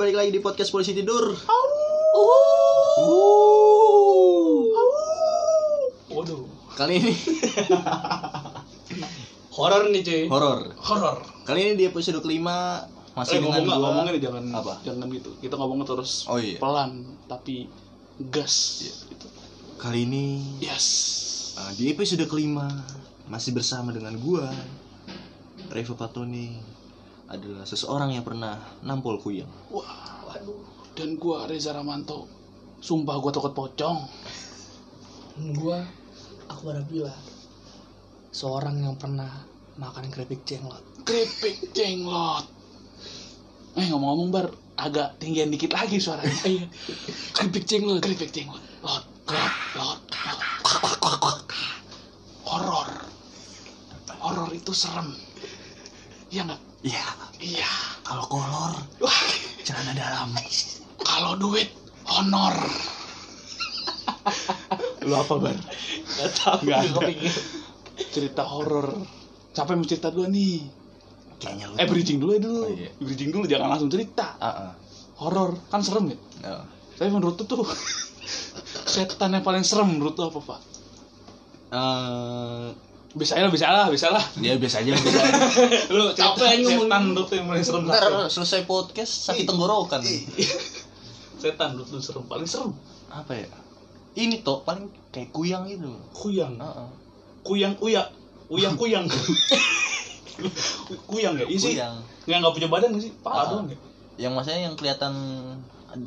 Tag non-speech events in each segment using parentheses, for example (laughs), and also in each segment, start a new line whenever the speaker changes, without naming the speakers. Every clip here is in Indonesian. balik lagi di podcast polisi tidur.
Waduh.
Kali (laughs) ini
Horor nih cuy.
horor.
Horor.
Kali ini di episode kelima masih
Eh,
dengan
ngomong nggak
gua.
ngomongnya jangan
Apa?
jangan gitu. Kita ngomong terus
Oh, iya.
pelan tapi gas.
Iya.
Gitu.
Kali ini
Yes.
eh, di episode kelima masih bersama dengan gua. Reva Patoni adalah seseorang yang pernah nampol kuyang.
Wah, waduh. Dan gua Reza Ramanto. Sumpah gua takut pocong.
gua Akbar Abdillah seorang yang pernah makan keripik cenglot
Keripik jenglot. Eh ngomong-ngomong bar, agak tinggian dikit lagi
(laughs)
suaranya. Iya.
keripik cenglot
Keripik jenglot. Lot, lot, lot, lot. Kuak, kuak, kuak, kuak. Horor. Horor itu serem. Iya nggak?
Iya,
Iya.
kalau kolor
Wah,
celana dalam.
kalau duit honor.
Lu apa, Bar?
Gak tau,
Nggak ada.
Cerita horor. Siapa yang mau cerita dulu nih?
Kayaknya lu.
Eh, bridging dulu ya dulu.
Oh, iya.
Bridging dulu, jangan langsung cerita.
Ah, ah.
Horor, kan serem ya?
Oh.
Tapi menurut tuh tuh, setan yang paling serem menurut tuh apa, Pak?
Eh,
Bisa lah, bisa lah, bisa lah.
ya biasa aja biasa aja.
Lu
Capek aja ngomongin.
setan menurut tuh yang paling serem.
Ntar
Setan,
selesai podcast sakit tenggorokan.
setan menurut tuh serem, paling serem.
Apa ya? Ini toh paling kayak kuyang gitu.
Kuyang.
Heeh.
Kuyang uya. Uyang
(laughs)
kuyang. kuyang ya? Iya sih.
Kuyang.
Yang nggak punya badan nggak sih? Pala
Ah.
doang ya?
Yang maksudnya yang kelihatan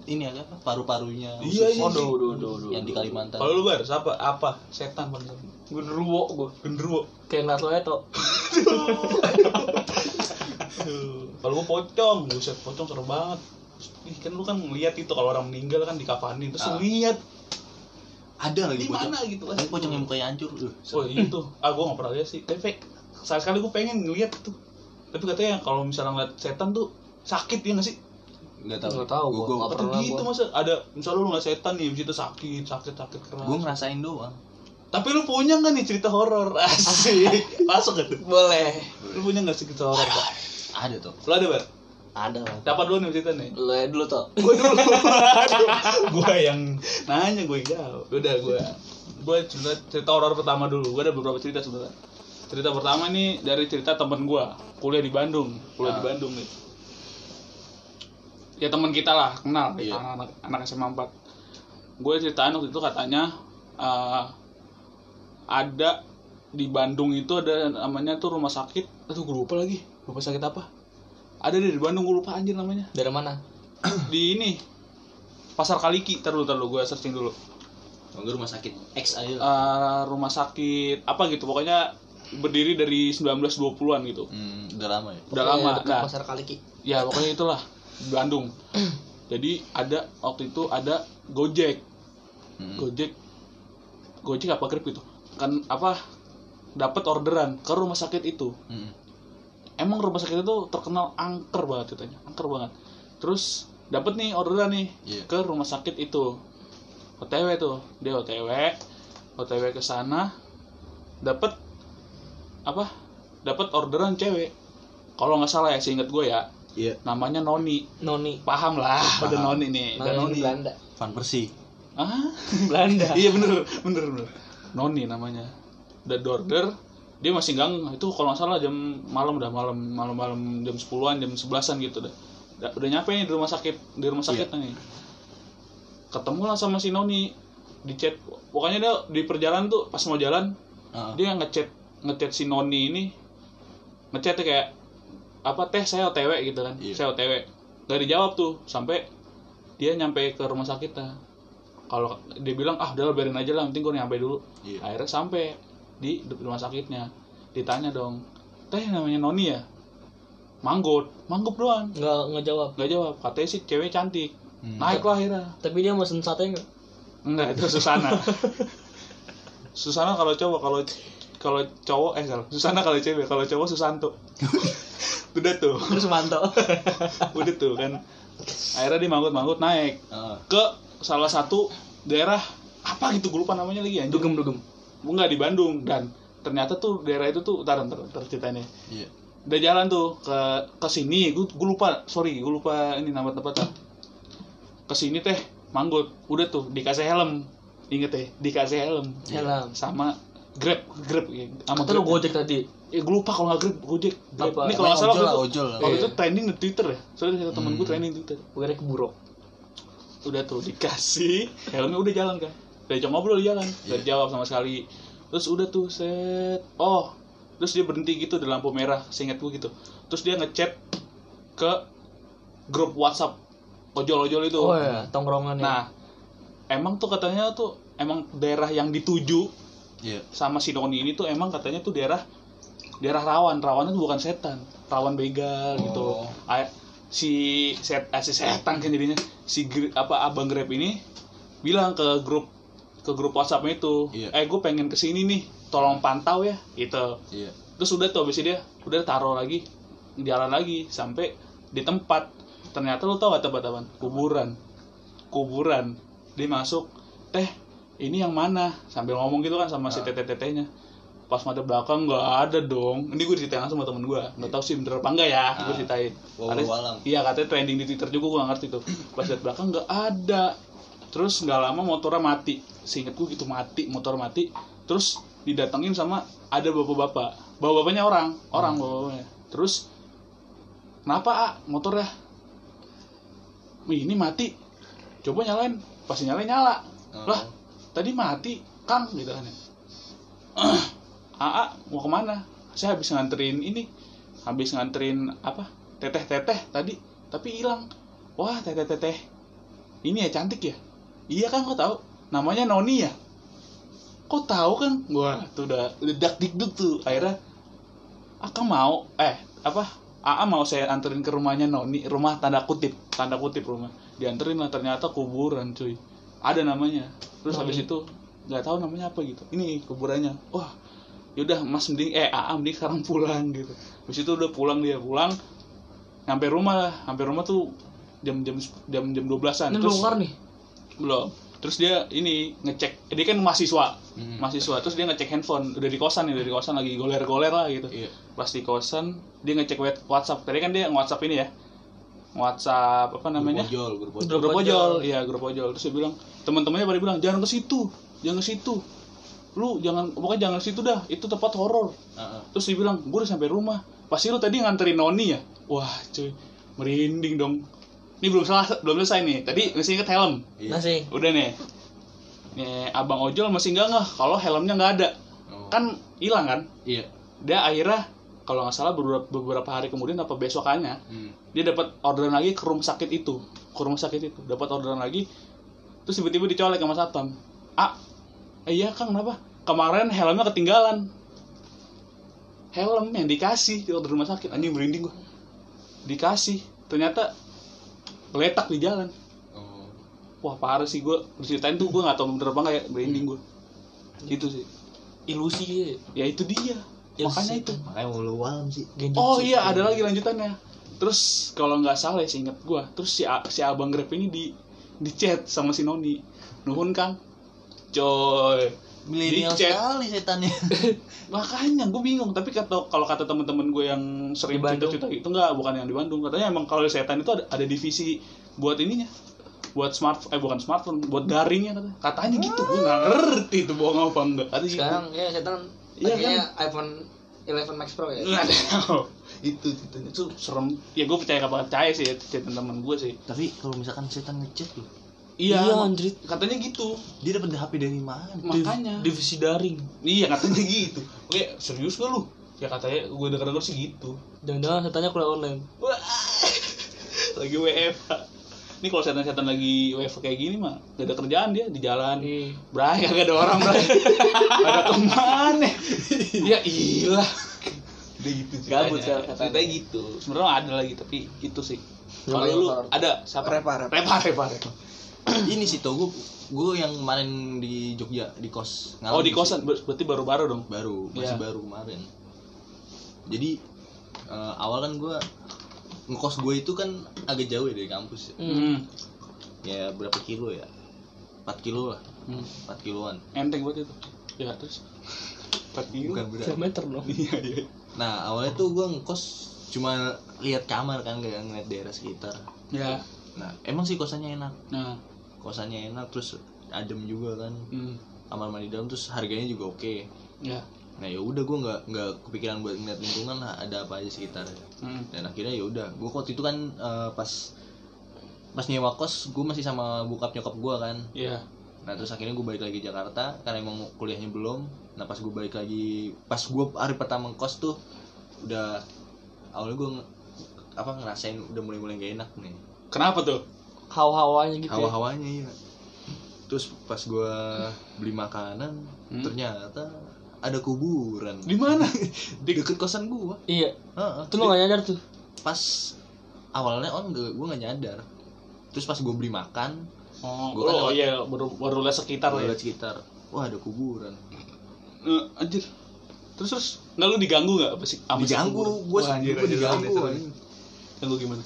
ini ada apa? Paru-parunya.
Iya,
Oh,
Usus.
iya. Aduh, aduh, aduh, aduh.
Yang di Kalimantan.
Kalau lu bar, apa? Apa? Setan paling serem.
genderuwo gua
Genderuwo.
kayak ngeliat lo itu
(laughs) Kalau gua pocong, buset pocong serem banget. Ih, kan lu kan ngeliat itu kalau orang meninggal kan dikafani terus
Ah.
lu lihat
Ada lagi
di
pocong.
mana gitu kan.
Tapi pocong yang mukanya hancur. Uh,
Oh, itu. Ah, gua nggak pernah lihat sih. Tapi fake. Sekali sekali gua pengen ngeliat itu. Tapi katanya kalau misalnya ngeliat setan tuh sakit ya nggak sih?
Enggak tahu.
Nggak tahu,
Gua-
gua.
gua
Nggak
Kata
pernah
gitu
gua.
masa ada misalnya lu ngeliat setan nih abis itu sakit, sakit, sakit keras.
gua ngerasain doang.
Tapi lu punya nggak nih cerita horor? (laughs) Asik. Masuk gak tuh?
boleh
Lu punya nggak sih cerita horor? Pak?
Ada toh.
Lu ada, Bar?
ada lah
Dapat dulu nih cerita nih.
lo dulu toh
Gue dulu. gue yang nanya gue jawab. Udah gue. Gue cerita, cerita horor pertama dulu. Gue ada beberapa cerita sebenarnya. Cerita pertama nih dari cerita temen gue kuliah di Bandung, kuliah di
Ah.
Bandung nih. Ya teman kita lah, kenal
Iya.
anak, anak SMA 4. Gue ceritain waktu itu katanya eh, ada di Bandung itu ada namanya tuh rumah sakit. Aduh gue lupa lagi. Rumah sakit apa? Ada deh di Bandung gue lupa anjir namanya
dari mana
di ini pasar Kaliki terlalu terlalu gue searching dulu
Kalau gua rumah sakit X aja lah.
Eh, rumah sakit apa gitu pokoknya berdiri dari 1920-an gitu
Hmm, udah lama ya.
udah
Pokoknya
lama
dekat
nah
pasar kaliki
ya pokoknya itulah di Bandung jadi ada waktu itu ada Gojek
Hmm.
Gojek Gojek apa Grab gitu kan apa dapat orderan ke rumah sakit itu
Hmm.
emang rumah sakit itu terkenal angker banget ceritanya angker banget terus dapat nih orderan nih
Iya.
ke rumah sakit itu OTW tuh dia OTW OTW ke sana dapat apa dapat orderan cewek kalau nggak salah ya seingat gue ya
Iya.
namanya Noni
noni
paham lah udah
Paham.
Noni nih udah
Noni
Noni
Belanda
Van Persie.
ah (laughs)
Belanda
iya bener bener bener Noni namanya udah order dia masih gang itu kalau nggak salah jam malam udah malam malam malam jam 10-an jam 11-an gitu dah udah, udah nyampe nih di rumah sakit di rumah sakit nih ketemu lah sama si Noni di chat pokoknya dia di perjalanan tuh pas mau jalan
Ah,
dia ngechat ngechat si Noni ini ngechatnya kayak apa teh saya OTW gitu kan
Iya.
saya OTW gak dijawab tuh sampai dia nyampe ke rumah sakit nah. kalau dia bilang ah udah lah, biarin aja lah penting gue nyampe dulu
Iya.
akhirnya sampai di de- rumah sakitnya ditanya dong teh namanya Noni ya manggut manggup doang
nggak ngejawab
gak jawab katanya sih cewek cantik
Hmm.
naik lah akhirnya
tapi dia mesen sate nggak
Enggak, itu Susana. (laughs) Susana kalau cowok, kalau kalau cowok eh kalau Susana kalau cewek, kalau cowok Susanto. (laughs) Udah tuh,
terus mantau
udah tuh kan. Akhirnya dia manggut-manggut naik
Ah,
ke salah satu daerah apa gitu gue lupa namanya lagi anjir.
(laughs) dugem dugem
Enggak di Bandung dan ternyata tuh daerah itu tuh ntar ntar, ntar ceritanya.
Iya.
Udah jalan tuh ke ke sini, gue lupa, sorry, gue lupa ini nama tempatnya. kesini teh manggut udah tuh dikasih helm inget ya dikasih helm
Helm.
sama grab grab ya sama
Kata lu gojek tadi.
ya gue lupa kalau nggak grab gojek Grab.
Apa?
ini kalau nggak salah
Ojol
waktu
lah,
itu,
ojol lah.
waktu
Iya.
itu trending di twitter ya soalnya satu temen gue trending di twitter
Gue kira keburuk.
udah tuh dikasih helmnya udah jalan kan dari cuma ngobrol di jalan dari jawab sama sekali terus udah tuh set oh terus dia berhenti gitu di lampu merah seingat gue gitu terus dia ngechat ke grup WhatsApp ojol-ojol itu
Oh ya, tongkrongan ya.
nah emang tuh katanya tuh emang daerah yang dituju
Iya.
sama si Noni ini tuh emang katanya tuh daerah daerah rawan rawannya tuh bukan setan rawan begal gitu A- si set eh, si setan kan jadinya si gr- apa abang grab ini bilang ke grup ke grup WhatsAppnya itu
Iya.
eh gue pengen kesini nih tolong pantau ya gitu
Iya.
terus udah tuh abis itu dia udah taruh lagi jalan lagi sampai di tempat ternyata lu tau gak tempat apa kuburan kuburan dia masuk teh ini yang mana sambil ngomong gitu kan sama si teteh tetehnya pas mata belakang nggak ada dong ini gue ceritain langsung sama temen gue nggak tahu sih bener apa enggak ya gue ceritain
Walau
Katanya-
alam.
iya katanya trending di twitter juga gue gak ngerti tuh pas liat belakang nggak ada terus nggak lama motornya mati seinget gue gitu mati motor mati terus didatengin sama ada bapak-bapak bapak-bapaknya orang orang bapak-bapaknya terus kenapa ah motornya Wih, ini mati coba nyalain pasti nyalain nyala
Oh.
lah tadi mati kang gitu kan ya. (clears throat) Aa mau kemana saya habis nganterin ini habis nganterin apa teteh teteh tadi tapi hilang wah teteh teteh ini ya cantik ya iya kan kau tahu namanya Noni ya kok tahu kan gua tuh udah ledak dikduk tuh akhirnya akang mau eh apa Aa mau saya anterin ke rumahnya Noni rumah tanda kutip tanda kutip rumah dianterin lah ternyata kuburan cuy ada namanya terus habis itu nggak tahu namanya apa gitu ini kuburannya wah yaudah mas mending eh Aa mending sekarang pulang gitu habis itu udah pulang dia pulang nyampe rumah lah nyampe rumah tuh jam jam jam jam dua belasan
Ini belum keluar nih.
belum terus dia ini ngecek dia kan mahasiswa
Hmm.
mahasiswa terus dia ngecek handphone udah di kosan nih udah di kosan lagi goler-goler lah gitu
Iya.
pas di kosan dia ngecek wet- WhatsApp tadi kan dia WhatsApp ini ya WhatsApp apa namanya
Grup ojol, grup ojol.
grup, ojol iya grup ojol terus dia bilang teman-temannya pada bilang jangan ke situ jangan ke situ lu jangan pokoknya jangan ke situ dah itu tempat horor
Ah, ah.
terus dia bilang gue udah sampai rumah pasti lu tadi nganterin noni ya wah cuy merinding dong ini belum selesai belum selesai nih tadi masih inget helm
Iya.
Masih.
Udah nih. Nih, abang ojol masih nggak nggak kalau helmnya nggak ada.
Oh.
Kan hilang kan?
Iya.
Dia akhirnya kalau nggak salah beberapa, beberapa hari kemudian apa besokannya
Hmm.
dia dapat orderan lagi ke rumah sakit itu ke rumah sakit itu dapat orderan lagi terus tiba-tiba dicolek sama satpam ah eh, iya kang kenapa kemarin helmnya ketinggalan helm yang dikasih di order rumah sakit anjing merinding gua dikasih ternyata letak di jalan
Oh.
wah parah sih gue diceritain tuh gue nggak tahu bener apa nggak ya branding gue gitu sih
Ilusi ya.
ya itu dia makanya itu
Makanya walau alam sih.
Genjutsu.
oh iya ada lagi lanjutannya terus kalau nggak salah ya seingat gue terus si, a- si abang grab ini di di chat sama si noni nuhun kang coy
Milenial
Di chat.
sekali setannya. (laughs)
makanya gue bingung tapi kata kalau kata teman-teman gue yang sering
Di Bandung.
cerita-cerita itu nggak bukan yang di Bandung katanya emang kalau setan itu ada, ada divisi buat ininya buat smart eh bukan smartphone buat daringnya katanya katanya gitu gue nggak ngerti itu bohong apa enggak katanya gitu.
Sekarang ya setan
Iya,
pakainya iPhone 11 Max Pro ya.
nggak tahu itu itu itu serem ya gue percaya gak percaya sih cerita teman gue sih
Tapi kalau misalkan setan ngechat loh,
iya,
Iya, anjrit.
katanya gitu
dia dapat HP dari mana?
(clears throat)
Div-
makanya
divisi daring.
iya katanya gitu oke serius gak lu ya katanya gue denger denger sih gitu
Jangan-jangan setannya kuliah online.
Wah. (laughs) lagi WFH ini kalau setan-setan lagi WFH kayak gini mah gak ada kerjaan dia di jalan
Iya.
Bray, kagak ada orang, (laughs) Bray. Ada kemana? ya ilah. Udah gitu ceritanya.
Gabut sekarang katanya.
Ceritanya gitu. Sebenarnya ada lagi tapi itu sih. Kalau
Yang
lu
horor.
ada siapa?
Repa, repa.
Repa, repa, repa.
Ini sih tau gue, gue yang kemarin di Jogja di kos.
Oh,
ngalamin
di
sih.
kosan. Ber- Berarti baru-baru dong.
baru masih
Iya.
baru kemarin jadi eh, awal kan gue ngekos gue itu kan agak jauh ya dari kampus ya,
Hmm.
ya berapa kilo ya 4 kilo lah
Hmm.
4 kiloan
Enteng buat itu. Ya, terus. Tadi
bukan berat
Kilometer dong.
Iya, iya.
nah awalnya tuh gue ngekos cuma lihat kamar kan gak ngeliat daerah sekitar
Ya.
nah emang sih kosannya enak
Nah,
kosannya enak terus adem juga kan
hmm,
kamar mandi dalam terus harganya juga oke
ya,
nah ya udah gue nggak nggak kepikiran buat ngeliat lingkungan lah, ada apa aja sekitar
hmm,
dan akhirnya ya udah gue waktu itu kan eh, pas pas nyewa kos gue masih sama bokap nyokap gue kan
ya,
nah terus akhirnya gue balik lagi Jakarta karena emang kuliahnya belum nah pas gue balik lagi pas gue hari pertama kos tuh udah awalnya gue apa ngerasain udah mulai-mulai gak enak nih
kenapa tuh?
Hawa-hawanya gitu. ya.
hawa-hawanya ya terus pas gue beli makanan
Hmm?
ternyata ada kuburan
Di mana?
di deket kosan gue
Iya,
Heeh.
itu lo gak nyadar tuh.
pas awalnya on gue gue nggak nyadar terus pas gue beli makan
Oh,
Gua kan
oh
lewat-
iya, baru baru lihat sekitar
gue
ya.
liat sekitar wah ada kuburan
Eh, anjir. Terus terus nggak lu diganggu nggak apa sih? Apa sih kuburan?
diganggu gue
Wah, anjir, anjir,
diganggu
anjir,
anjing.
anjir. Ganggu gimana?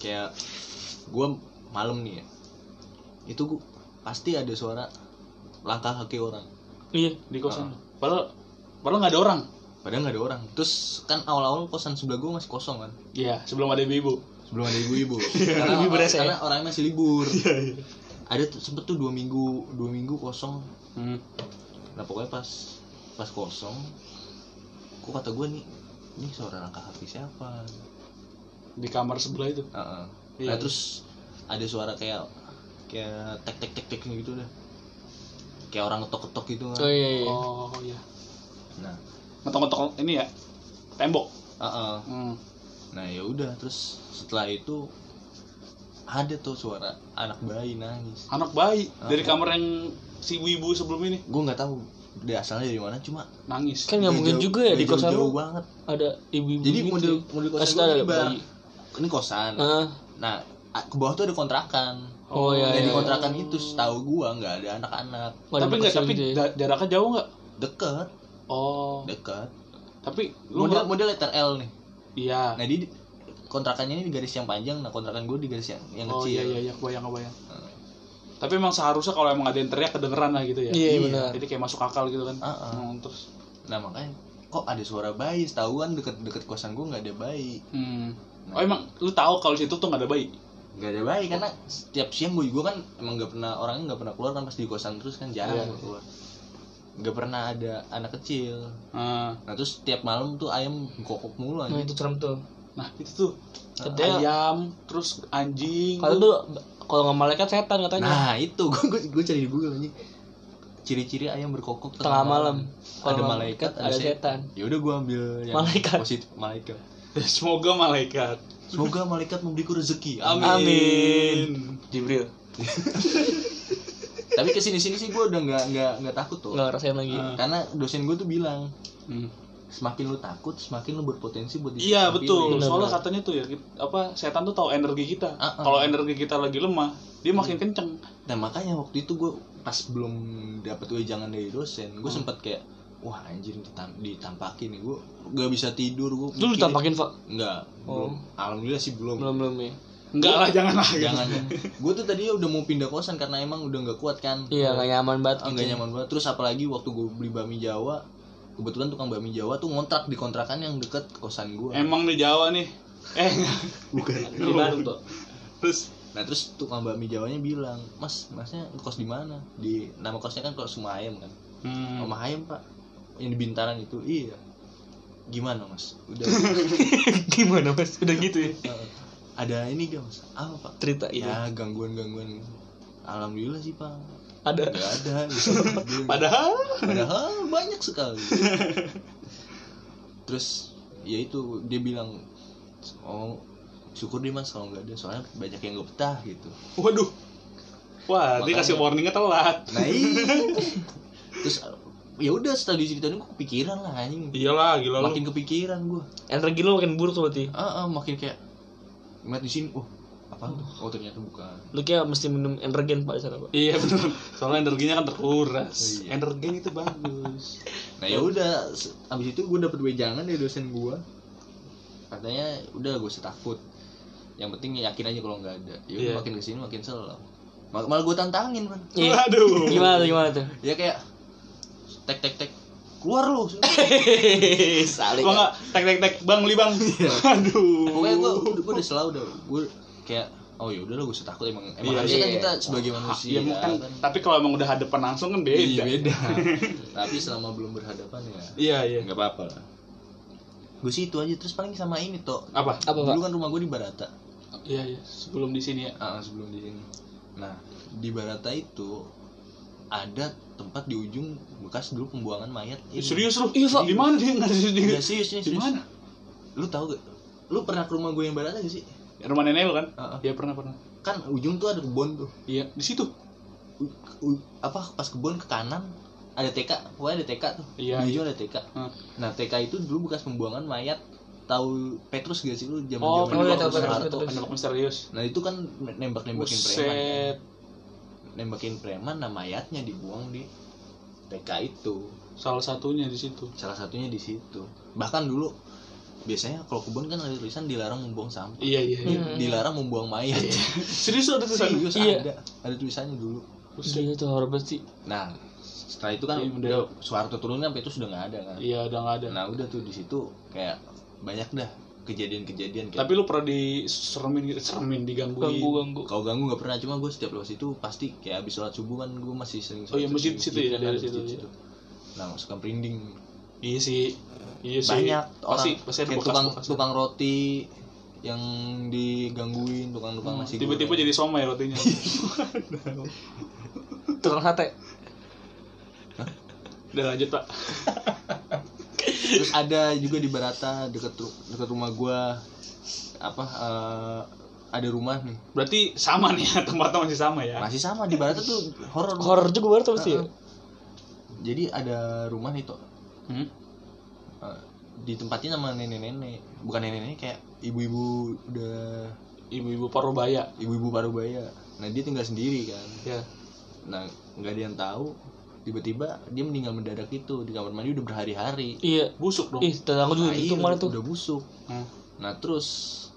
kayak gue malam nih ya itu gua, pasti ada suara langkah kaki orang
Iya.
Di kosan. Padahal padahal nggak ada orang.
padahal nggak ada orang terus kan awal-awal kosan sebelah gue masih kosong kan
Iya, sebelum ada ibu.
sebelum ada
(laughs)
ibu-ibu karena,
Lebih berasa ya. Iya,
karena orangnya masih libur ada tuh- sempet tuh dua minggu dua minggu kosong
Hmm.
Nah pokoknya pas pas kosong, kok kata gue nih, ini suara langkah kaki siapa?
Di kamar sebelah itu.
Heeh. Nah
Iya.
terus ada suara kayak kayak tek tek tek tek gitu dah. Kayak orang ngetok ketok gitu kan.
Oh iya iya.
Oh iya.
Nah,
Ngetok-ngetok ini ya. Tembok.
heeh.
Hmm.
nah ya udah terus setelah itu ada tuh suara anak bayi nangis.
Anak bayi
Ah.
dari kamar yang si ibu-ibu sebelum ini
Gue nggak tahu dia asalnya dari mana cuma
nangis.
Kan nggak mungkin juga ya di kosan
Iya, jauh,
lu
banget.
ada ibu-ibu.
Jadi
gitu
model
ya.
model kosan
Pasti
gua
ada
ini bar-
bayi.
ini kosan.
Heeh.
Nah, a- ke bawah tuh ada kontrakan.
Oh, iya,
Nah,
iya.
di kontrakan itu setahu gua nggak ada anak-anak.
Nggak ada
tapi nggak,
kecil
tapi
gitu ya.
da- jaraknya jauh nggak?
Deket,
Oh,
deket.
tapi lu
Model
nggak-
model letter L nih.
Iya.
Nah, di kontrakannya ini di garis yang panjang, nah kontrakan gua di garis yang yang
Oh
kecil.
iya iya iya kebayang kebayang.
Heeh.
Eh. Tapi emang seharusnya kalau emang ada yang teriak kedengeran lah gitu ya.
Iya
Iya.
benar.
Jadi kayak masuk akal gitu kan.
Ah, ah.
Hmm, terus
Nah, makanya kok ada suara bayi setahuan deket-deket kosan gua nggak ada bayi Nah,
hmm. Oh emang lu tahu kalau situ tuh nggak ada bayi.
nggak ada bayi karena setiap siang gue juga kan emang nggak pernah orangnya nggak pernah keluar kan pas di kosan terus kan jarang
Iya.
gua keluar nggak pernah ada anak kecil
Nah,
nah terus setiap malam tuh ayam kokok mulu
Nah
aja
itu serem tuh.
nah itu tuh
Katanya
ayam, terus anjing.
kalau tuh kalau nggak malaikat setan katanya.
Nah itu (laughs) gue cari di Google anjing. Ciri-ciri ayam berkokok
Tengah malam.
Ada
Kalau
malaikat, ada, setan. Ya udah gue ambil yang
Malaikat.
positif malaikat.
(laughs) Semoga malaikat.
Semoga malaikat memberiku rezeki.
Amin.
Jibril.
Tapi kesini sini sih gue udah nggak nggak nggak takut tuh.
Nggak ngerasain lagi.
Ah.
Karena dosen gue tuh bilang
Hmm.
semakin lu takut semakin lu berpotensi buat
Iya
ditampilin.
betul.
Benar,
Soalnya
benar.
katanya tuh ya kita- apa setan tuh tahu energi kita.
Ah, ah.
Kalau energi kita lagi lemah, dia makin kenceng.
Nah makanya waktu itu gue pas belum dapat wejangan dari dosen
Hmm.
gue sempet kayak wah anjir ditam- ditampakin nih gue gak bisa tidur gue
Itu lu tampakin Pak.
nggak
Oh.
belum alhamdulillah sih belum
Belum belum ya.
Enggak lah, jangan lah. gitu.
(laughs)
jangan gue tuh tadinya udah mau pindah kosan karena emang udah nggak kuat kan
Iya nggak nyaman banget.
Ah, nggak nyaman banget terus apalagi waktu gue beli bakmi jawa kebetulan tukang bakmi jawa tuh ngontrak di kontrakan yang deket kosan gue
Emang nih Jawa nih. Eh,
bukan
Di Bandung
(laughs)
tuh.
terus
nah terus tukang bakmi jawanya bilang mas masnya kos di mana di nama kosnya kan kos rumah ayam kan
hmm.
rumah ayam pak yang di bintaran itu iya gimana mas udah
Gimana mas? Udah gitu ya.
eh, ada ini gak mas apa pak
Cerita
ya
iya.
gangguan gangguan alhamdulillah sih pak
Ada.
nggak ada gitu.
padahal
padahal banyak sekali terus ya itu dia bilang oh syukur deh mas kalau nggak ada soalnya banyak yang nggak betah gitu
waduh. Wah, dia
Makanya.
kasih warningnya telat.
nah iya. terus ya udah setelah diceritain gue kepikiran lah anjing
Iyalah, gila lu.
makin kepikiran gue
Energi lu makin buruk tuh berarti.
ah, ah, makin kayak ngeliat di sini oh apa tuh? oh ternyata bukan
Lu kayak mesti minum energen pak di sana pak.
Iya benar. Soalnya energinya kan terkuras.
Iya.
Energinya itu bagus.
nah ya udah se- abis itu gue dapet wejangan dari dosen gue katanya udah gue takut yang penting yakin aja kalau nggak ada ya udah,
Iya.
makin kesini makin selam Mal- malah gue tantangin kan
Iya.
Waduh.
(laughs) Gimana tuh gimana tuh?
ya kayak tek tek tek keluar lu
(laughs) Saling.
Gua Iya. enggak tek tek tek bang beli bang. Aduh.
pokoknya gue gue udah selalu udah gue kayak oh ya udah lo gak usah takut emang emang
Iya,
harusnya kan
iya.
kita sebagai manusia
Iya, kan,
kan.
tapi kalau emang udah hadapan langsung kan beda.
Iya, beda. tapi selama belum berhadapan ya
Iya, iya.
nggak apa-apa lah gue sih itu aja terus paling sama ini toh
Apa?
Apa, Pak?
dulu kan rumah gue di Barata
Iya, iya. Sebelum di sini ya.
Ah, sebelum di sini. Nah, di Barata itu ada tempat di ujung bekas dulu pembuangan mayat. ini.
Eh,
Serius lu? Iya, Di mana dia ngasih di?
Iya, serius, serius.
Di
serius.
mana?
Lu tahu gak? Lu pernah ke rumah gue yang Barata gak sih?
Rumah nenek lu kan?
Ah,
Heeh.
Iya, pernah pernah.
Kan ujung tuh ada kebun tuh.
Iya, di situ.
U- u- apa pas kebun ke kanan ada TK, pokoknya ada TK tuh.
Iya,
Di ujung ada TK.
Heeh.
Nah, TK itu dulu bekas pembuangan mayat. Tahu Petrus gak sih lu zaman
Oh,
zaman
iya, tahu Petrus, Petrus.
Penolak misterius.
Nah, itu kan nembak-nembakin preman. kan.
Buset.
nembakin preman nah mayatnya dibuang di TK itu
Salah satunya di situ.
salah satunya di situ bahkan dulu biasanya kalau kebun kan ada tulisan dilarang membuang sampah
Iya, iya, iya.
Hmm.
Eh, dilarang membuang mayat (laughs)
Serius lu ada tulisannya?
serius
Iya.
ada ada tulisannya dulu
Buset.
Gila itu horor banget sih.
nah setelah itu kan
Iya,
udah Soeharto turun sampai itu sudah nggak ada kan
Iya, udah nggak ada.
nah udah tuh di situ kayak banyak dah kejadian-kejadian kayak
Tapi lu pernah diseremin gitu, seremin digangguin.
Ganggu ganggu.
kau ganggu nggak pernah cuma gue setiap lewat situ pasti kayak abis sholat subuh kan gue masih sering
Oh,
sholat
iya, masjid
subuh.
situ ya,
Kan ada
daerah
masjid
situ, iya.
nah masukkan perinding
Iya sih. Iya sih.
banyak
Pasti
orang
pasti ada
kayak
bekas-
tukang
bekas.
tukang roti yang digangguin tukang tukang nasi
Hmm, Tiba-tiba
goreng.
jadi somai
(laughs)
rotinya.
Tukang sate.
Udah lanjut, Pak.
terus ada juga di Barata deket ru- deket rumah gua apa eh, ada rumah nih
Berarti sama nih (laughs) ya, tempatnya masih sama ya.
masih sama di Barata tuh horor
Horor juga baru tuh pasti ya.
jadi ada rumah nih tuh
Hmm?
eh, ditempatin sama nenek-nenek bukan nenek-nenek kayak ibu-ibu udah
Ibu-ibu Parubaya.
ibu-ibu parubaya nah dia tinggal sendiri kan
Ya.
nah nggak ada yang tahu tiba-tiba dia meninggal mendadak itu di kamar mandi udah berhari-hari
Iya.
Busuk dong.
Ih, tetangga
Air
juga gitu mana tuh?
udah busuk
Hmm.
nah terus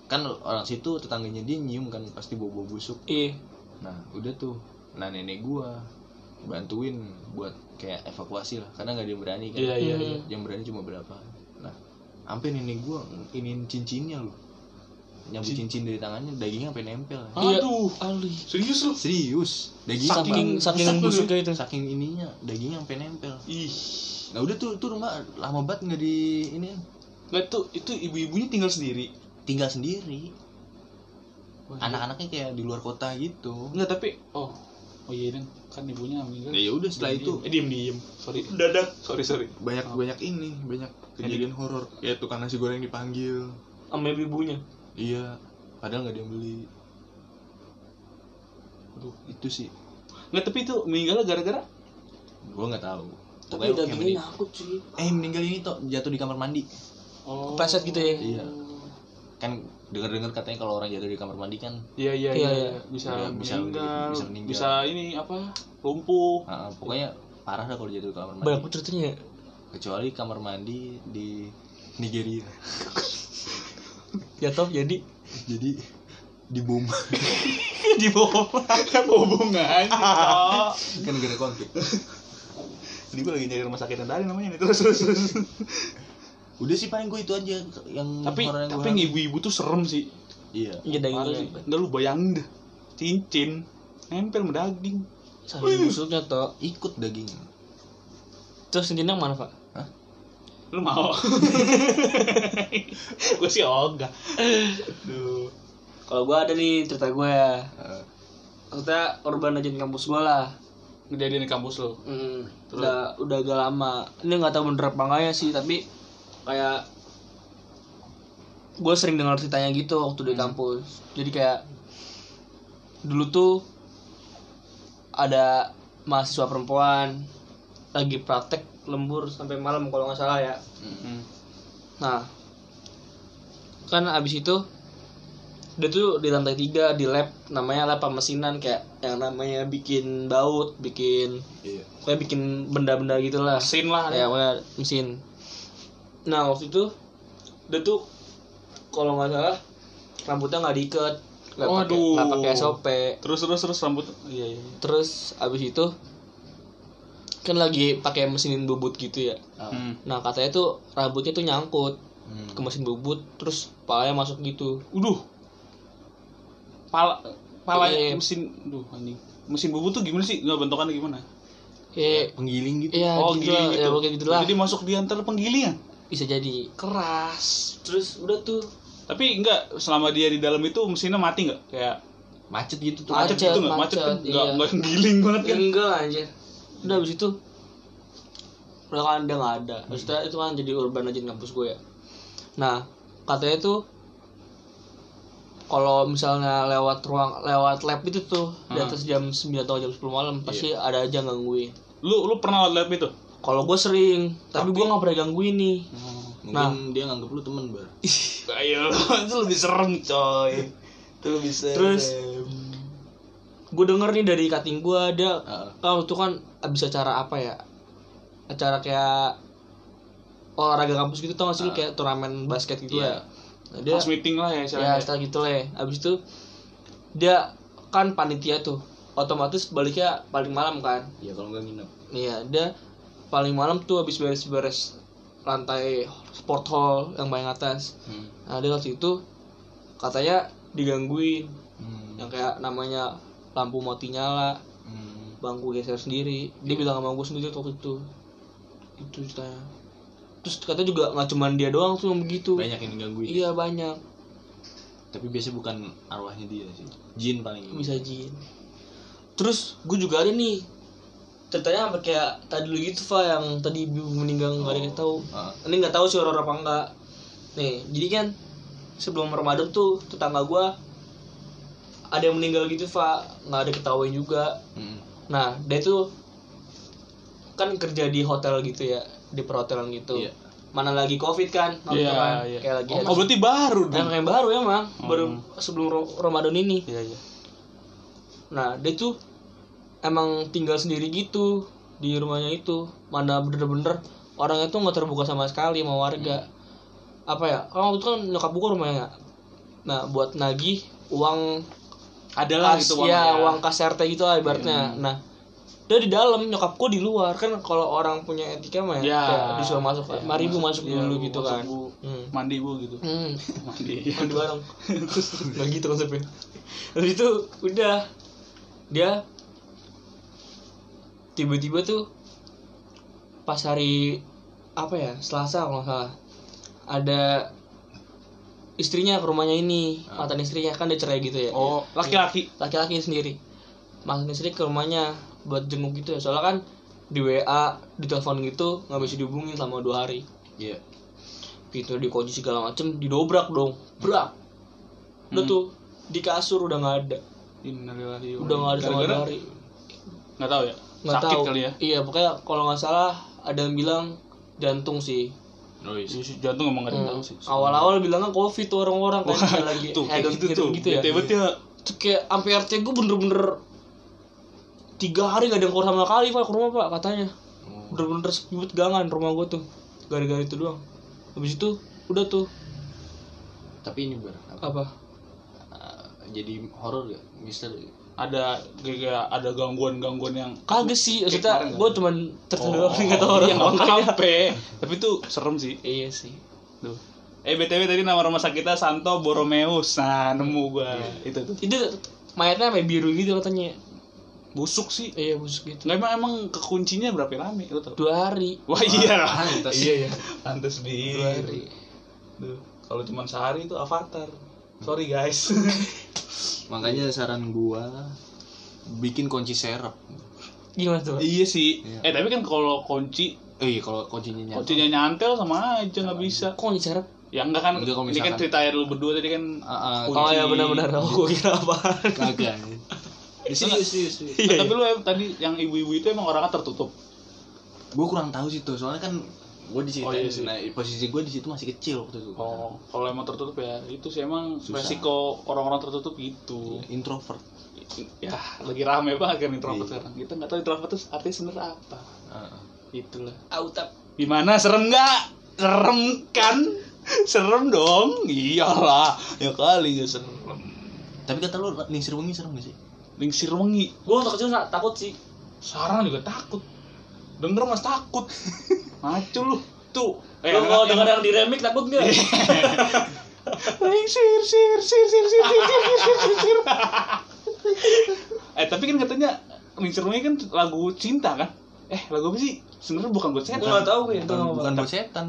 kan orang situ tetangganya dia nyium kan pasti bobo busuk
Iya.
nah udah tuh nah nenek gua bantuin buat kayak evakuasi lah karena nggak ada yang berani kan
Iya, iya,
Hmm.
iya.
yang berani cuma berapa nah sampai nenek gua iniin cincinnya loh nyabut cincin dari tangannya dagingnya sampai nempel
Iya.
Aduh.
Ali.
Serius lu?
serius dagingnya
Saking
sampai-
Iya, saking
Saking-
busuknya itu.
saking ininya dagingnya sampai nempel
Ih.
nah udah tuh tuh rumah lama banget nggak di ini
Nggak tuh itu ibu-ibunya tinggal sendiri.
tinggal sendiri
Wah,
anak-anaknya kayak di luar kota gitu
Enggak, tapi oh. Oh iya, Dan. kan ibunya meninggal.
Ya udah setelah itu
Eh, diem diem. Sorry. Dadah. Sorry, sorry.
banyak banyak ini banyak kejadian horor kayak tukang nasi goreng dipanggil
Sama ibunya.
iya padahal nggak ada yang beli
Aduh.
itu sih
Nggak, tapi itu meninggalnya gara-gara
gua nggak tahu
Tapi
Pokoknya kayak
dagingnya nyangkut cuy.
mening- eh meninggal ini toh jatuh di kamar mandi
oh.
Kepeset gitu ya.
iya kan dengar dengar katanya kalau orang jatuh di kamar mandi kan
Iya iya
Iya,
iya
iya.
bisa
Iya, bisa
meninggal,
bisa
bisa,
meninggal.
ini apa (laughs) lumpuh
ah, ah, pokoknya parah dah kalau jatuh di kamar mandi
Banyak banget ceritanya. ya.
kecuali kamar mandi di Nigeria (laughs)
Jatuh Ya jadi
jadi di
(laughs)
bom
Iya,
di bawah.
apa (laughs) hubungannya Pak?
kan gara konflik
ini gue lagi nyari rumah sakit yang tadi namanya nih terus terus, terus.
udah sih paling gue itu aja yang
(laughs) tapi
horor yang gua
tapi
alami.
yang ibu-ibu tuh serem sih
iya
Iya
Parah
dagingnya.
sih nggak lu bayangin dah cincin nempel sama daging
Saking busuknya toh.
ikut dagingnya
Terus cincinnya yang mana, Pak?
lu mau (laughs) gue sih oh, ogah Duh.
Kalau gua ada nih cerita gua ya.
Heeh.
Kita urban legend kampus gua lah.
kejadian di kampus lo
Hmm, udah udah agak lama. Ini nggak tahu bener apa nggak ya sih, tapi kayak gue sering dengar ceritanya gitu waktu di kampus. Jadi kayak dulu tuh ada mahasiswa perempuan lagi praktek lembur sampai malam kalau nggak salah ya.
hmm.
Nah, kan abis itu dia tuh di lantai tiga di lab namanya lab pemesinan kayak yang namanya bikin baut, bikin
iya
kayak bikin benda-benda gitulah
sin lah
ya pokoknya mesin nah waktu itu dia tuh kalau nggak salah rambutnya nggak diikat nggak pakai
Waduh.
nggak pakai SOP
terus terus terus rambut iya iya
terus abis itu kan lagi pakai mesin bubut gitu ya
hmm.
nah katanya tuh rambutnya tuh nyangkut
Hmm.
ke mesin bubut terus palanya masuk gitu
Uduh, pala pala
Iya.
mesin duh anjing mesin bubu tuh gimana sih nggak bentukannya gimana
Iya,
penggiling gitu
iya
oh
gitu,
giling
lah,
gitu
ya pokoknya gitu lah.
jadi masuk di antara penggilingan
Bisa jadi keras. Terus udah tuh
tapi enggak selama dia di dalam itu mesinnya mati nggak kayak
macet gitu tuh
macet,
Macet,
gitu nggak macet, kan
macet,
nggak
iya.
nggak giling banget kan
enggak anjir. Udah abis itu udah kan udah nggak ada. Maksudnya itu kan jadi urban legend kampus gue ya. Nah katanya tuh kalau misalnya lewat ruang lewat lab itu tuh di
Hmm.
atas jam 9 atau jam 10 malam pasti ada aja gangguin.
lu lu pernah lihat itu
Kalau gue sering, tapi, gue nggak pernah gangguin nih.
mungkin
Nah.
dia nganggep lu temen bar
(laughs)
ayo itu lebih serem coy itu lebih serem
Terus gue denger nih dari kating gue dia
Heeh.
kalau itu kan abis acara apa ya? Acara kayak olahraga kampus gitu tau gak sih lu kayak turnamen basket
Iya.
gitu ya. Nah, dia
House meeting lah ya
ya
istilahnya
setelah gitu lah ya. Abis itu dia kan panitia tuh otomatis baliknya paling malam kan.
ya kalau nggak nginep
Iya, dia paling malam tuh habis beres-beres lantai sport hall yang paling atas.
Hmm.
Nah, dia waktu itu katanya digangguin
Hmm.
yang kayak namanya lampu mati nyala,
Hmm.
bangku geser sendiri. Dia bilang sama gue sendiri waktu itu. Itu ceritanya. Terus katanya juga nggak cuman dia doang tuh yang begitu.
banyak yang gangguin
Iya, banyak.
tapi biasanya bukan arwahnya dia sih jin paling
Bisa jin. Terus gue juga ada nih ceritanya sampai kayak tadi lu gitu Fa yang tadi ibu meninggal nggak ada yang
Oh.
tahu.
Heeh.
ini nggak tahu sih horor apa enggak nih jadi kan sebelum Ramadan tuh tetangga gua ada yang meninggal gitu Fa nggak ada ketahuan juga
Hmm.
nah dia tuh kan kerja di hotel gitu ya di perhotelan gitu
Iya.
mana lagi covid kan waktu
Iya,
kan,
iya.
kayak lagi
oh berarti Oh. baru
Nah,
dong
yang baru emang baru sebelum Ro- Ramadan ini
iya iya
Nah, dia tuh emang tinggal sendiri gitu di rumahnya itu. Mana bener-bener orangnya tuh nggak terbuka sama sekali sama
Hmm.
warga. Apa ya? Kalau waktu itu kan nyokap buka rumahnya. Nah, buat nagih uang
adalah
kas
itu
ya, uang kas RT gitu lah
Iya.
ibaratnya. Nah, dia di dalam nyokapku di luar kan kalau orang punya etika mah
Ya.
ya, disuruh masuk
Ya,
mari bu
masuk- iya,
masuk dulu
Bu,
gitu
masuk,
kan
Bu.
Hmm.
mandi bu gitu (laughs)
(laughs) Hmm.
mandi
mandi
(laughs)
bareng nggak gitu konsepnya Habis itu udah dia tiba-tiba tuh pas hari apa ya Selasa kalau nggak salah ada istrinya ke rumahnya ini mantan istrinya kan dia cerai gitu ya
Ah. oh laki-laki
laki-laki sendiri mantan istri ke rumahnya buat jenguk gitu ya soalnya kan di WA di telepon gitu nggak bisa dihubungin selama dua hari
iya
gitu dikunci segala macem didobrak dong brak
Hmm.
udah tuh di kasur udah nggak ada
Innalillahi wa
udah nggak ada sama
Gara-gara
sekali
nggak tahu ya
nggak
sakit
tahu
kali ya
iya pokoknya kalau nggak salah ada yang bilang jantung sih
noise
Isi jantung emang nggak ada yang tahu
Hmm.
sih
awal-awal bilangnya covid tuh orang-orang kan kayak lagi
(laughs) tuh kayak
hedon
gitu tuh
gitu ya
bete-bete ya
Tuh kayak sampai RT gue bener-bener tiga hari nggak ada yang keluar sama kali pak ke rumah pak katanya
Oh.
bener-bener sepi banget gangan rumah gue tuh gara-gara itu doang habis itu udah tuh
tapi ini bar apa,
apa
eh, jadi horor gak mister
ada kayak ada gangguan-gangguan yang
kagak sih maksudnya
kemarin
gue
nggak?
cuman tertidur doang nggak tahu
iya,
orang
nggak
makanya.
apa-apa. tapi itu serem sih
iya sih
tuh eh btw tadi nama rumah sakit kita Santo Boromeus nah nemu gua itu tuh
itu mayatnya kayak biru gitu katanya
busuk sih
iya busuk gitu
nggak emang emang kekuncinya berapa lama lu tau
dua hari
(laughs) wah iya
pantes.
iya iya pantas di
dua hari
Duh, kalau cuma sehari itu avatar. Sorry guys.
makanya saran gua bikin kunci serep
gimana
(laughs)
tuh
iya Iya. sih.
Iya.
Eh tapi kan kalau kunci,
eh kalau kuncinya nyata
kuncinya nyantel sama aja nggak bisa.
kok nyicerap
Ya enggak kan.
Enggak, kalau
ini kan
misalkan-
cerita ya dulu berdua tadi kan.
Ah, ah,
kunci.
oh ya benar-benar aku kira apa
kagak
(laughs)
serius serius serius.
Nah, tapi lu em- tadi yang ibu-ibu itu emang orangnya tertutup.
gua kurang tahu sih tuh soalnya kan gua di situ
Oh, iya sih.
nah posisi gua di situ masih kecil waktu itu
Oh, kalau emang tertutup ya itu sih emang
Susah.
resiko orang-orang tertutup gitu.
introvert
Ya, lagi rame banget kan introvert
Iya.
sekarang. Kita nggak tahu introvert itu artinya sebenarnya apa.
Ah, ah.
Itulah.
autap
Gimana serem nggak? Serem kan? (laughs) Serem dong. Iyalah, ya kali nggak serem.
tapi kata lu lingsir wengi serem gak sih
Lingsir wengi.
gue waktu kecil sa- takut sih
Sarang juga takut. Denger mas
(laughs)
takut. Macu lu. Tuh. Eh, Iya.
lo kalau denger yang di remix takut nggak
Ring sir sir sir sir sir sir sir sir sir sir sir. Eh tapi kan katanya Ring sir Ring kan lagu cinta kan? Eh lagu apa sih? Sebenarnya bukan buat
Gue
setan.
gak tau gue itu
bukan,
apa.
bukan buat setan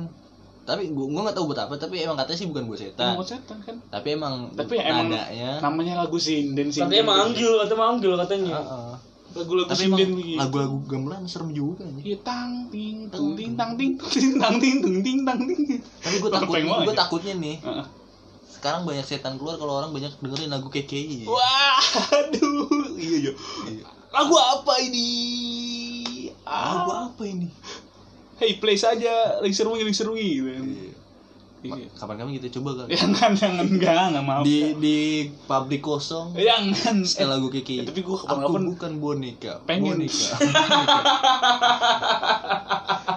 tapi gua gua nggak tahu buat apa tapi emang katanya sih bukan buat
Bukan
setan
buat setan kan?
tapi emang
Tapi emang
nadanya
namanya lagu sinden sinden.
Tapi emang manggil, kata manggil katanya.
Ah,
Heeh.
Lagu-lagu
tapi emang
sinden gitu.
lagu-lagu gamelan serem juga nih
Iya tang ting tung ting tang ting tung ting tang ting tung ting tang ting.
tapi
(laughs)
gue takut
Lempeng banget
gue
ya.
takutnya nih
Heeh.
sekarang banyak setan keluar kalau orang banyak dengerin lagu KKI
Wah, aduh, iya iya. Lagu apa ini?
lagu
Ah,
apa ini
hey play saja, ring serungi, ring serungi. Gitu.
Iya. Ma-
Iya.
kapan-kapan kita coba kali
Jangan, jangan, kan, enggak, enggak mau.
di di pabrik kosong
Jangan.
setel lagu
Iya. eh,
KKI
tapi gua
aku
kapan-kapan-
bukan boneka
Pengen. (laughs)
boneka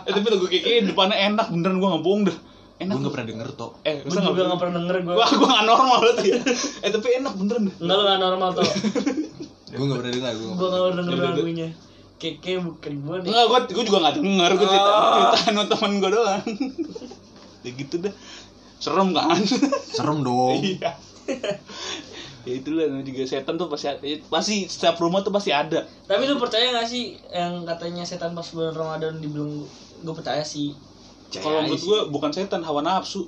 Eh, tapi lagu keke depannya enak, beneran gua nggak bohong dah. Enak.
gue nggak pernah denger toh
Eh,
Gue
masa
juga
nggak
gak pernah denger gue.
Wah, gua nggak normal tuh ya. Eh, tapi enak beneran dah.
Enggak lo gak normal tau.
(laughs)
gue nggak pernah dengar gue
Gue gak pernah denger
Udah, udah.
lagunya. Keke bukan gue nih.
Enggak, gua, gua juga Iya, nggak denger, gua
Ah.
cerita, cerita sama teman gua doang. ya gitu dah. Serem kan?
serem
Oh.
dong
Iya. ya itulah namanya juga setan tuh pasti ada- pasti setiap rumah tuh pasti ada.
Tapi lu percaya gak sih yang katanya setan pas bulan Ramadan dibilang gue percaya sih.
Percaya
Kalau menurut
aja
gua bukan setan, hawa nafsu.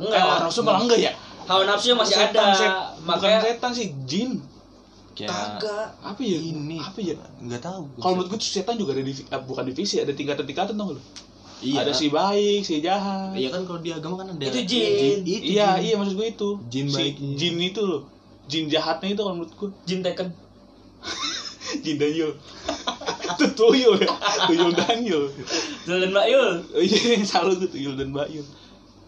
Eh, hawa
enggak.
nafsu malah enggak ya?
Hawa nafsunya masih
Setan,
ada.
set- bukan
Makanya
setan sih, jin.
Kayak
kagak.
Apa ya?
ini
Apa ya?
nggak tahu
Kalau menurut gua tuh setan juga ada di bukan divisi, ada tingkatan-tingkatan tau lu.
iya
Ada si baik, si jahat.
iya kan kalau di agama kan ada
Itu jin.
itu
iya,
jin.
iya maksud gua itu.
Jin
si
baiknya.
jin itu loh. Jin jahatnya itu kalau menurut
(laughs)
gua.
jin Tekken.
Jin Daniel. (laughs) itu tuyul ya. Tuyul
(laughs)
Daniel.
Jalan Mbak Yul.
Oh iya yang selalu tuh Tuyul dan Mbak Yul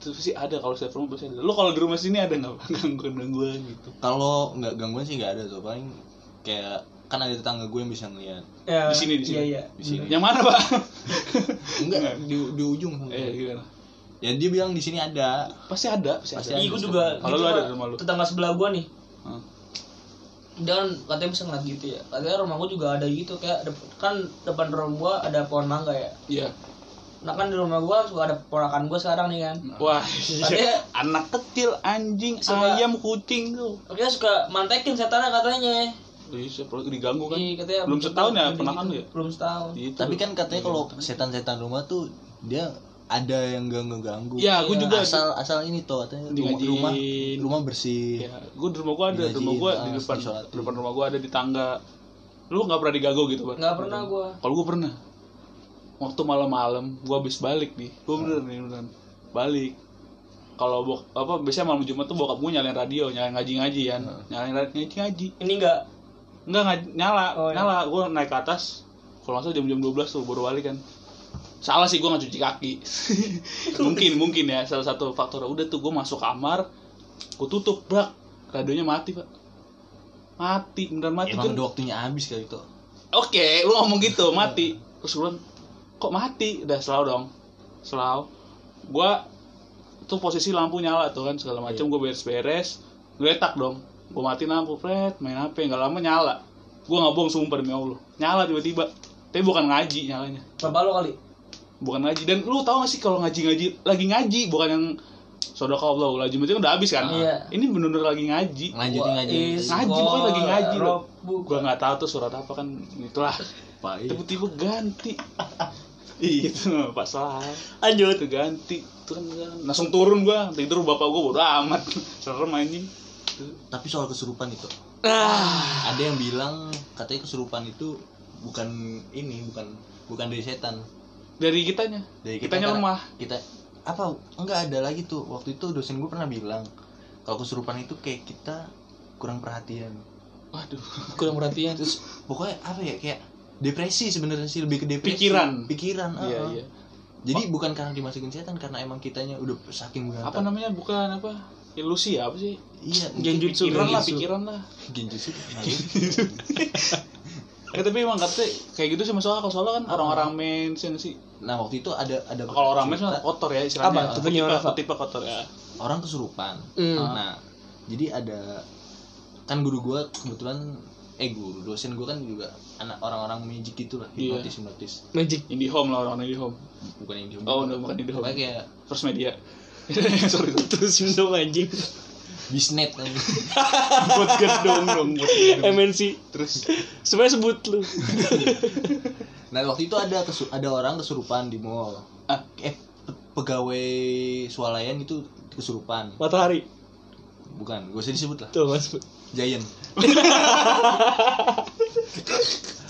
Terus sih ada kalau setiap rumah pasti ada Lo kalau di rumah sini ada nggak Pak? gangguan-gangguan gitu
kalau nggak gangguan sih nggak ada tuh paling kayak kan ada tetangga gue yang bisa ngeliat
Ya,
Di sini, di sini.
Iya, iya.
di sini
Hmm. Yang mana
(laughs)
Pak? Nggak.
enggak di, di ujung
Eh gimana?
ya dia bilang di sini ada
Pasti ada Pasti,
Pasti
ada Ah.
Iya, gue juga.
Kalau
gitu
lu ada
mah,
di rumah lu.
Tetangga sebelah gue nih.
Hah?
Dia kan katanya bisa ngeliat gitu ya. Katanya rumah gue juga ada gitu kayak dep- kan depan rumah gue ada pohon mangga ya.
Iya
Nah kan di rumah gue suka ada ponakan gue sekarang nih kan.
Wah iya. Ah.
Tapi-
Anak kecil anjing
Suka-
ayam kucing tuh
Katanya suka mantekin setannya katanya.
Ih, siapa lagi diganggu kan
Iya, katanya
Belum setahun ya
gitu-gitu.
penakan lu ya
Belum setahun.
Gitu.
tapi kan katanya kalau setan-setan rumah tuh dia ada yang ganggu ganggu
Ya gue
Iya,
juga
asal asal ini tuh katanya rumah
Digajin.
rumah, rumah bersih
Ya, gue di rumah gue ada, di rumah gue di
Digajiin, ah,
depan,
disolatin.
di depan rumah gue ada di tangga. Lu nggak pernah diganggu gitu, Bar?
Nggak pernah gua.
Kalau gue pernah. Waktu malam-malam, gue habis balik nih. Gue bener nih beneran. Balik. Kalau bok, apa biasanya malam Jumat tuh bokap gue nyalain radio, nyalain ngaji-ngaji kan. Nyalain ra- ngaji-ngaji.
Ini enggak
Enggak ngaji, nyala,
Oh, iya.
nyala. Gue naik ke atas. Kalau nggak salah jam-jam 12 tuh baru balik kan. Salah sih gue nggak cuci kaki. (laughs) mungkin mungkin ya salah satu faktor. Udah tuh gue masuk kamar, gue tutup brak, radionya mati pak. Mati, beneran mati
emang
kan.
udah waktunya habis kali tuh
Oke, lu ngomong gitu, mati. Terus gue bilang, kok mati? Udah selalu dong. Selalu. Gua tuh posisi lampu nyala tuh kan segala macam gue beres-beres, geletak dong. Gue matiin lampu, fret, main HP, nggak lama nyala. Gue nggak bohong sumpah demi ya Allah. Nyala tiba-tiba. Tapi bukan ngaji nyalanya.
bapak lo kali.
Bukan ngaji. Dan lu tahu gak sih kalau ngaji-ngaji lagi ngaji, bukan yang Sodaka Allah lazim itu kan udah habis kan.
Iya.
Ini bener-bener lagi ngaji.
lanjutin
Wa
aja
is
Ngaji, pokoknya lagi ngaji lo.
Rabbuka.
Gua nggak tahu tuh surat apa kan itulah
Pak, iya.
tiba-tiba (laughs) ganti Ih, Iya, itu mah pas lah
Lanjut.
itu ganti itu kan kan. langsung turun gua tidur bapak gua bodo amat (laughs) serem anjing
tapi soal kesurupan itu
Ah,
ada yang bilang katanya kesurupan itu bukan ini bukan bukan dari setan
dari kitanya
dari kita
kitanya
kan-
lemah
kita apa enggak ada lagi tuh waktu itu dosen gue pernah bilang kalau kesurupan itu kayak kita kurang perhatian
waduh
(laughs) kurang perhatian.
terus pokoknya apa ya kayak depresi sebenarnya sih lebih ke depresi
Pikiran.
pikiran
iya
uh-uh.
iya
jadi bukan karena dimasukin setan karena emang kitanya udah saking berantakan.
apa namanya bukan apa ilusi ya apa sih
iya mungkin
Genjutsu,
pikiran lah
genjutsu.
pikiran lah
pik- genjutsu
eh tapi emang katanya kayak gitu sih masalah kalau soalnya kan orang-orang mens yang sih
nah waktu itu ada ada
kalau orang mens mah
cerita
kotor ya
Apa?
istilahnya
Contohnya
tipe
gimana, Pak?
tipe kotor ya
orang kesurupan
Hmm.
nah jadi ada kan guru gue kebetulan eh guru dosen gue kan juga anak orang-orang magic gitu lah
Iya.
hipnotis hipnotis
Magic.
indie home lah orang-orang indie home
bukan yang
Oh, enggak, bukan yang di home.
kayak
terus media (laughs) sorry sorry.
(laughs) Terus minum anjing.
bisnet kan. anjing.
buat gedung dong buat gedung.
MNC.
terus
Sebenarnya sebut lu.
nah waktu itu ada kesu- ada orang kesurupan di mall
Ah.
eh pe- pegawai swalayan itu kesurupan
Matahari.
bukan gue usah disebut lah
Tuh, Mas.
Giant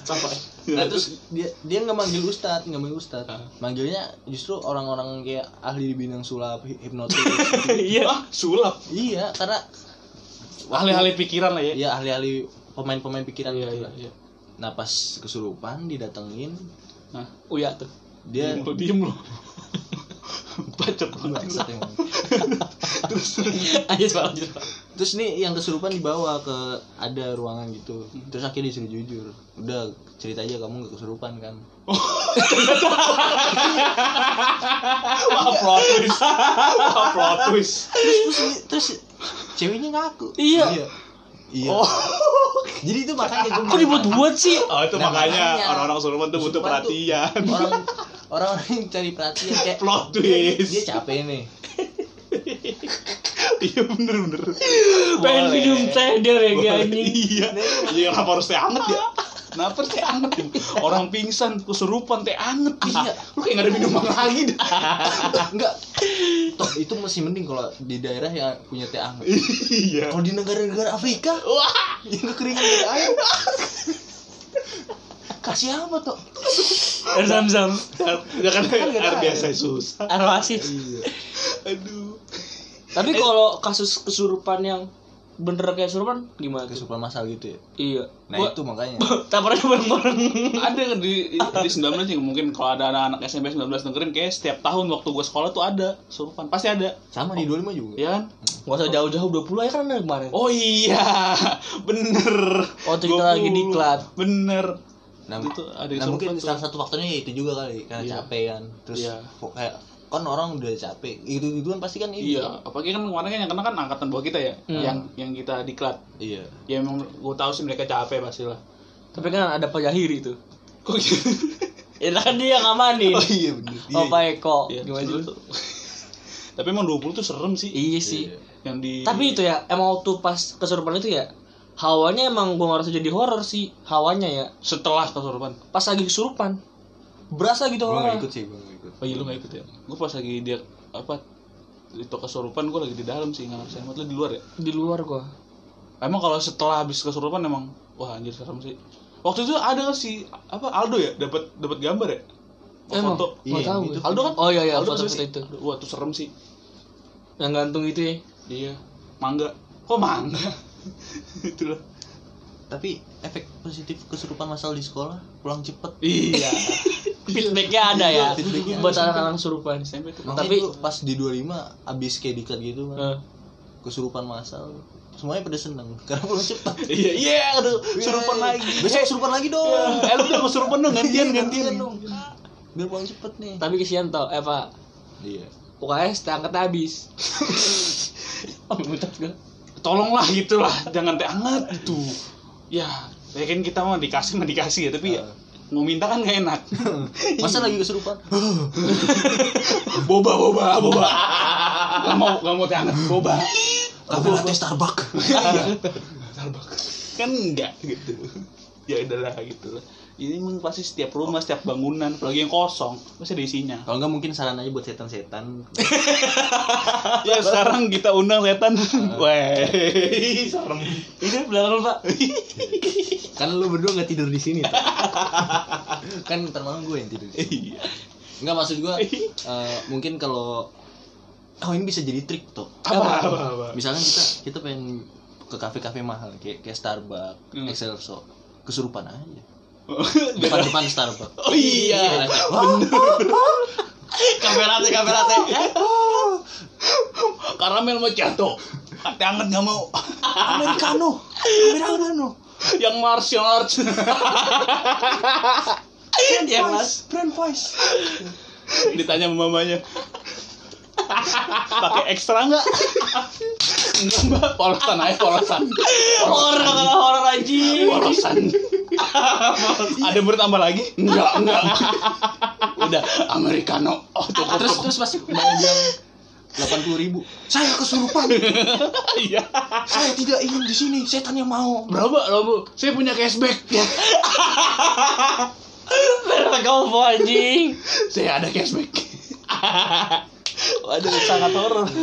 apa
nah terus dia dia nggak manggil ustad nggak manggil ustad
Ah.
manggilnya justru orang-orang kayak ahli di bidang sulap hi- hipnotis
Iya.
ah sulap
iya karena
alih-alih pikiran lah ya
ya ahli-ahli pemain-pemain pikiran
iya
gitu
iya
lah.
iya
nah pas kesurupan didatengin
nah
Uya tuh.
dia
lo diem lo (laughs) bacot banget
Bangsat emang.
Ayo soal lanjut, Pak.
terus nih yang kesurupan dibawa ke ada ruangan gitu terus akhirnya disuruh jujur udah cerita aja kamu nggak kesurupan kan
wah plot twist wah plot twist
terus terus, terus ceweknya ngaku
Iya.
iya, Iya. jadi itu makanya gue
Kok dibuat-buat sih?
oh itu
Nah,
makanya
makanya.
orang-orang Sulaiman tuh butuh
Sulaiman tuh-
perhatian (laughs)
orang orang (laughs) yang cari perhatian kayak
plot
dia, dia
twist
capek nih
iya bener bener
Pengen
Boleh.
minum teh dia rege anjing.
iya iya kenapa harus teh anget ya Kenapa harus teh anget ya? Orang pingsan kesurupan teh anget
Iya.
Lu kayak gak ada minuman lagi dah
enggak toh itu masih mending kalau di daerah yang punya teh anget
(laughs) Iya
kalau di negara-negara Afrika
Wah
yang kekeringan dari air kasih apa toh
Air zam-zam.
Ya kan air biasa susah
Air oasis.
Aduh
Tapi
Eh.
kalau kasus kesurupan yang bener kayak kesurupan gimana tuh?
kesurupan masal gitu ya
Iya.
nah itu makanya
tampaknya bareng-bareng.
Ada kan di, di 19 yang mungkin kalau ada anak-anak SMP 19 dengerin kayak setiap tahun waktu gua sekolah tuh ada kesurupan Pasti ada
sama di 25 juga
Iya kan?
Gak usah jauh-jauh 20 aja kan ada kemarin.
Oh iya, (laughs) bener.
Waktu Oh, kita lagi di
20.
klat.
Bener.
nah,
Itu tuh ada yang
nah
suruh
mungkin
tuh.
salah satu faktornya ya itu juga kali karena
Iya.
capek kan terus
Iya.
kok kayak kan orang udah capek itu itu kan pasti kan ini
Iya, apalagi kan kemarin kan yang kena kan angkatan bawah kita ya,
Hmm.
yang yang kita di klat.
iya (laughs)
Ya emang gue tahu sih mereka capek pasti lah.
Tapi kan ada Pak Jahiri tuh.
Kok gitu?
(laughs) Ya kan dia yang ngamanin.
iya. oh iya bener Iya,
Oh, Pak Eko.
Iya,
Gimana
seru
sih?
tuh. (laughs) Tapi emang 20 tuh serem sih.
Iya
iya.
sih.
Yang di
Tapi itu ya, emang waktu pas kesurupan itu ya, hawanya emang gua ngerasa jadi horor sih, hawanya ya.
setelah kesurupan.
Pas lagi kesurupan, berasa gitu
gue gak
orang.
ikut sih gue gak ikut
Oh iya lu gak ikut ya? Gue pas lagi dia apa itu kesurupan gue lagi di dalam sih nggak ngerasa emang lu di luar ya?
Di luar gua.
Emang kalau setelah habis kesurupan emang wah anjir serem sih. Waktu itu ada si apa Aldo ya dapat dapat gambar ya?
Emang,
Foto.
nggak
Iya,
tahu.
itu.
Aldo kan? Oh iya iya,
Aldo
foto-foto
foto
itu.
Wah, tuh serem sih.
Yang gantung itu ya.
Iya. Mangga. Kok mangga? (laughs) Itulah.
tapi efek positif kesurupan masal di sekolah pulang cepet
Iya.
Feedbacknya ada ya.
Iya, feedbacknya
Buat anak-anak kesurupan.
SMP tuh.
Makanya
Tapi-
tuh pas di 25 abis kayak diklat gitu
Eh.
kan,
Heeh.
kesurupan masal semuanya pada seneng (laughs) karena pulang cepet
Iya, iya, aduh, kesurupan
Yeay.
lagi.
besok Iya. kesurupan lagi dong
Eh, lu udah kesurupan dong, gantian,
Iya.
gantian.
dong biar pulang cepet nih
Tapi kesian tau, eh Pak,
iya
UKS terangkat habis. Oh, muntah gua.
Tolonglah gitulah, jangan teh hangat gitu. Ya, ya kan kita mah dikasih mah dikasih ya, tapi ya, mau minta kan gak enak.
masa lagi (gasps) kesurupan
boba, boba, boba. Gak mau, gak mau teh hangat, boba.
kafe latte Starbucks
kan enggak gitu ya udahlah gitu lah ini emang pasti setiap rumah setiap bangunan apalagi yang kosong pasti ada isinya
(laughs) kalau nggak mungkin saran aja buat setan-setan
ya sekarang kita undang setan weh (laughs) serem
Ini belakang lu, Pak.
kan lu berdua nggak tidur di sini tuh. (laughs) kan ntar malam gue yang tidur di sini.
Iya.
nggak maksud (laughs) gue eh, mungkin kalau oh ini bisa jadi trik tuh
apa apa apa
misalkan kita kita pengen ke kafe-kafe mahal kayak kayak Starbucks,
Hmm.
Excelsior kesurupan aja
Beda.
depan-depan Starbucks kan?
oh iya kamera teh kamera teh karamel mau jatuh kata anget nggak mau
Americano Americano
yang martial arts Iya,
Ya, Mas.
brand voice
ditanya sama mamanya pakai ekstra nggak enggak mbak polosan aja polosan
Horor, horor anjing.
polosan ada bertambah lagi enggak enggak udah americano oh, cukup,
Ah, terus
cukup.
terus pasti mau bilang delapan puluh ribu saya kesurupan
Iya.
saya tidak ingin di sini setan yang mau
Berapa lo bu? Saya punya cashback.
Ya.
Kau mau anjing.
(laughs) saya ada cashback.
Waduh, sangat horor.
(laughs)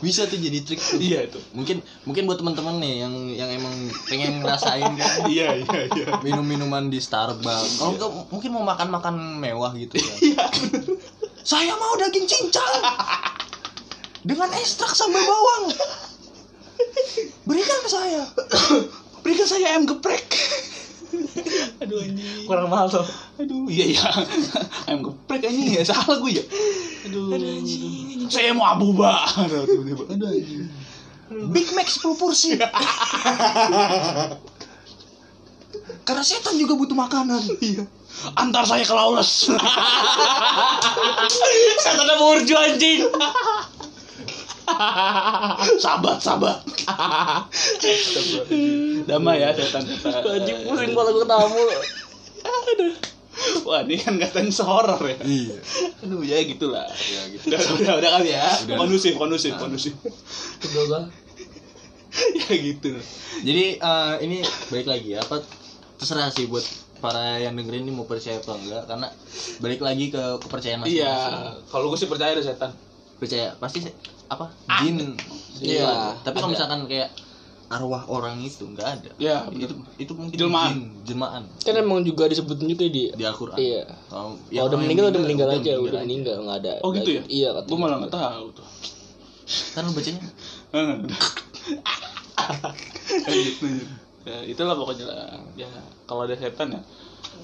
bisa tuh jadi trik tuh.
iya itu.
mungkin mungkin buat teman-teman nih yang yang emang pengen ngerasain kan
Iya iya iya.
minum-minuman di Starbucks kalau enggak, mungkin mau makan-makan mewah gitu ya saya mau daging cincang dengan ekstrak sambal bawang berikan ke saya
Berikan saya ayam (laughs) geprek.
Aduh anjing. Kurang mahal tuh.
Aduh, iya iya. (laughs) Ayam geprek anjing ya salah gue ya. Aduh. Saya mau abu ba. Aduh, tiba-tiba. Aduh, anjing.
Big Mac 10
(laughs)
porsi karena setan juga butuh makanan
Iya. Antar saya ke (laughs) Laules.
Kata burju anjing.
sabat sabat. Damai ya setan.
Anjing pusing kepala gua tamu.
Wah, ini kan katanya sehoror ya.
iya
Aduh, ya gitulah.
ya gitu
Udah, udah, udah Nah. kali ya.
Udah.
Kondusif, kondusif, kondusif. (laughs)
Udah gua.
ya gitu.
Jadi eh, ini balik lagi ya, apa terserah sih buat para yang dengerin ini mau percaya apa enggak karena balik lagi ke kepercayaan
Iya,
masing-masing.
kalau gue sih percaya ada setan.
Percaya pasti se- apa? Jin.
Iya,
Ah. Iya. Tapi kalau
ada.
misalkan kayak arwah orang itu enggak ada.
Iya,
itu itu mungkin
Jelmaan.
jin, jelmaan
Kan emang juga disebutin gitu ya di
di Al-Qur'an.
Iya.
Kalau
Ya,
yang
udah
yang
meninggal udah meninggal aja, udah
aja.
meninggal nggak ada.
Oh, gitu ya?
Iya, katanya.
Gue malah nggak tahu tuh.
Kan lu bacanya
Iya,
Eh. (laughs) Lanjut, lanjut. ya, itulah pokoknya lah. Ya, kalau ada setan ya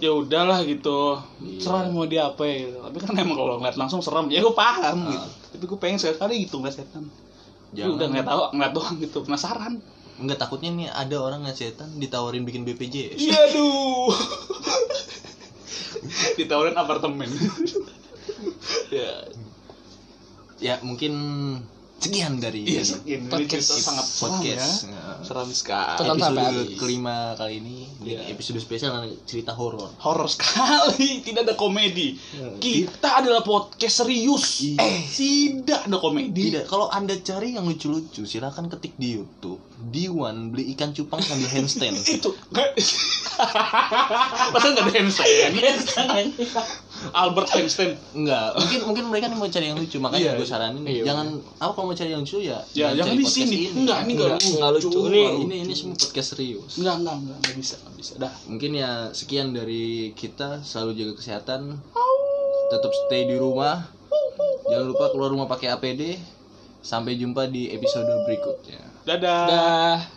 ya udahlah gitu serah mau dia apa ya gitu. tapi kan emang kalau ngeliat langsung serem ya gue paham gitu tapi gue pengen sekali gitu ngeliat setan Gue
jangan
udah ngeliat tahu ngeliat doang gitu penasaran
enggak takutnya nih ada orang ngasih setan ditawarin bikin BPJS.
Iya aduh. (laughs) Ditawarin (laughs) apartemen. ya,
Ya mungkin sekian dari
iya sekian. Ini
Podcast
cerita sangat seram ya.
podcast. Nah.
Seram sekali.
Tonton sampai
episode
habis.
kelima kali ini di
Iya.
episode spesial cerita horor.
Horor sekali, tidak ada komedi. Kita adalah podcast serius.
Iya.
Eh, tidak ada komedi.
Tidak, kalau Anda cari yang lucu-lucu silahkan ketik di YouTube. Diwan beli ikan cupang sambil
(laughs)
handstand.
Itu. (laughs) Masa nggak ada handstand? Albert handstand.
Enggak, mungkin mungkin mereka nih mau cari yang lucu,
Iya,
makanya gue
iya.
saranin
Iya,
jangan apa kalau mau cari yang lucu ya
Ya, jangan
cari
di
podcast
sini.
ini.
Enggak, ini enggak
Enggak, enggak lucu.
lucu.
Ini-
Ini ini semua podcast serius.
Enggak, enggak, enggak, enggak bisa, enggak bisa. Dah.
Mungkin ya sekian dari kita, selalu jaga kesehatan. Tetap stay di rumah. Jangan lupa keluar rumah pakai APD. Sampai jumpa di episode berikutnya.
Dadah.
Dah.